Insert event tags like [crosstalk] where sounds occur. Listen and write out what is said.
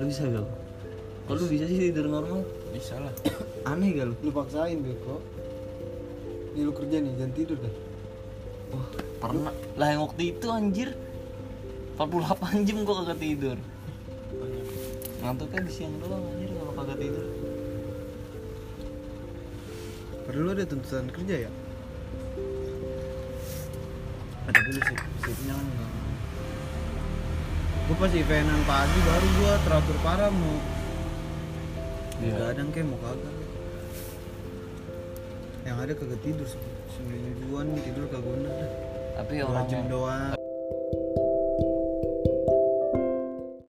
lu bisa gak lu kalau lu bisa sih tidur normal bisa lah [coughs] aneh gak lu lu paksain beko nih lu kerja nih jangan tidur dah wah pernah lah yang waktu itu anjir 48 jam gua kagak tidur ngantuknya di siang doang anjir kalau kagak tidur perlu ada tuntutan kerja ya ada dulu sih sipnya kan nggak- gue pas eventan pagi baru gue teratur parah mau Iya. begadang kayak mau kagak yang ada kagak tidur sembilan tujuan tidur kagak bener dah tapi orang jam yang- doang.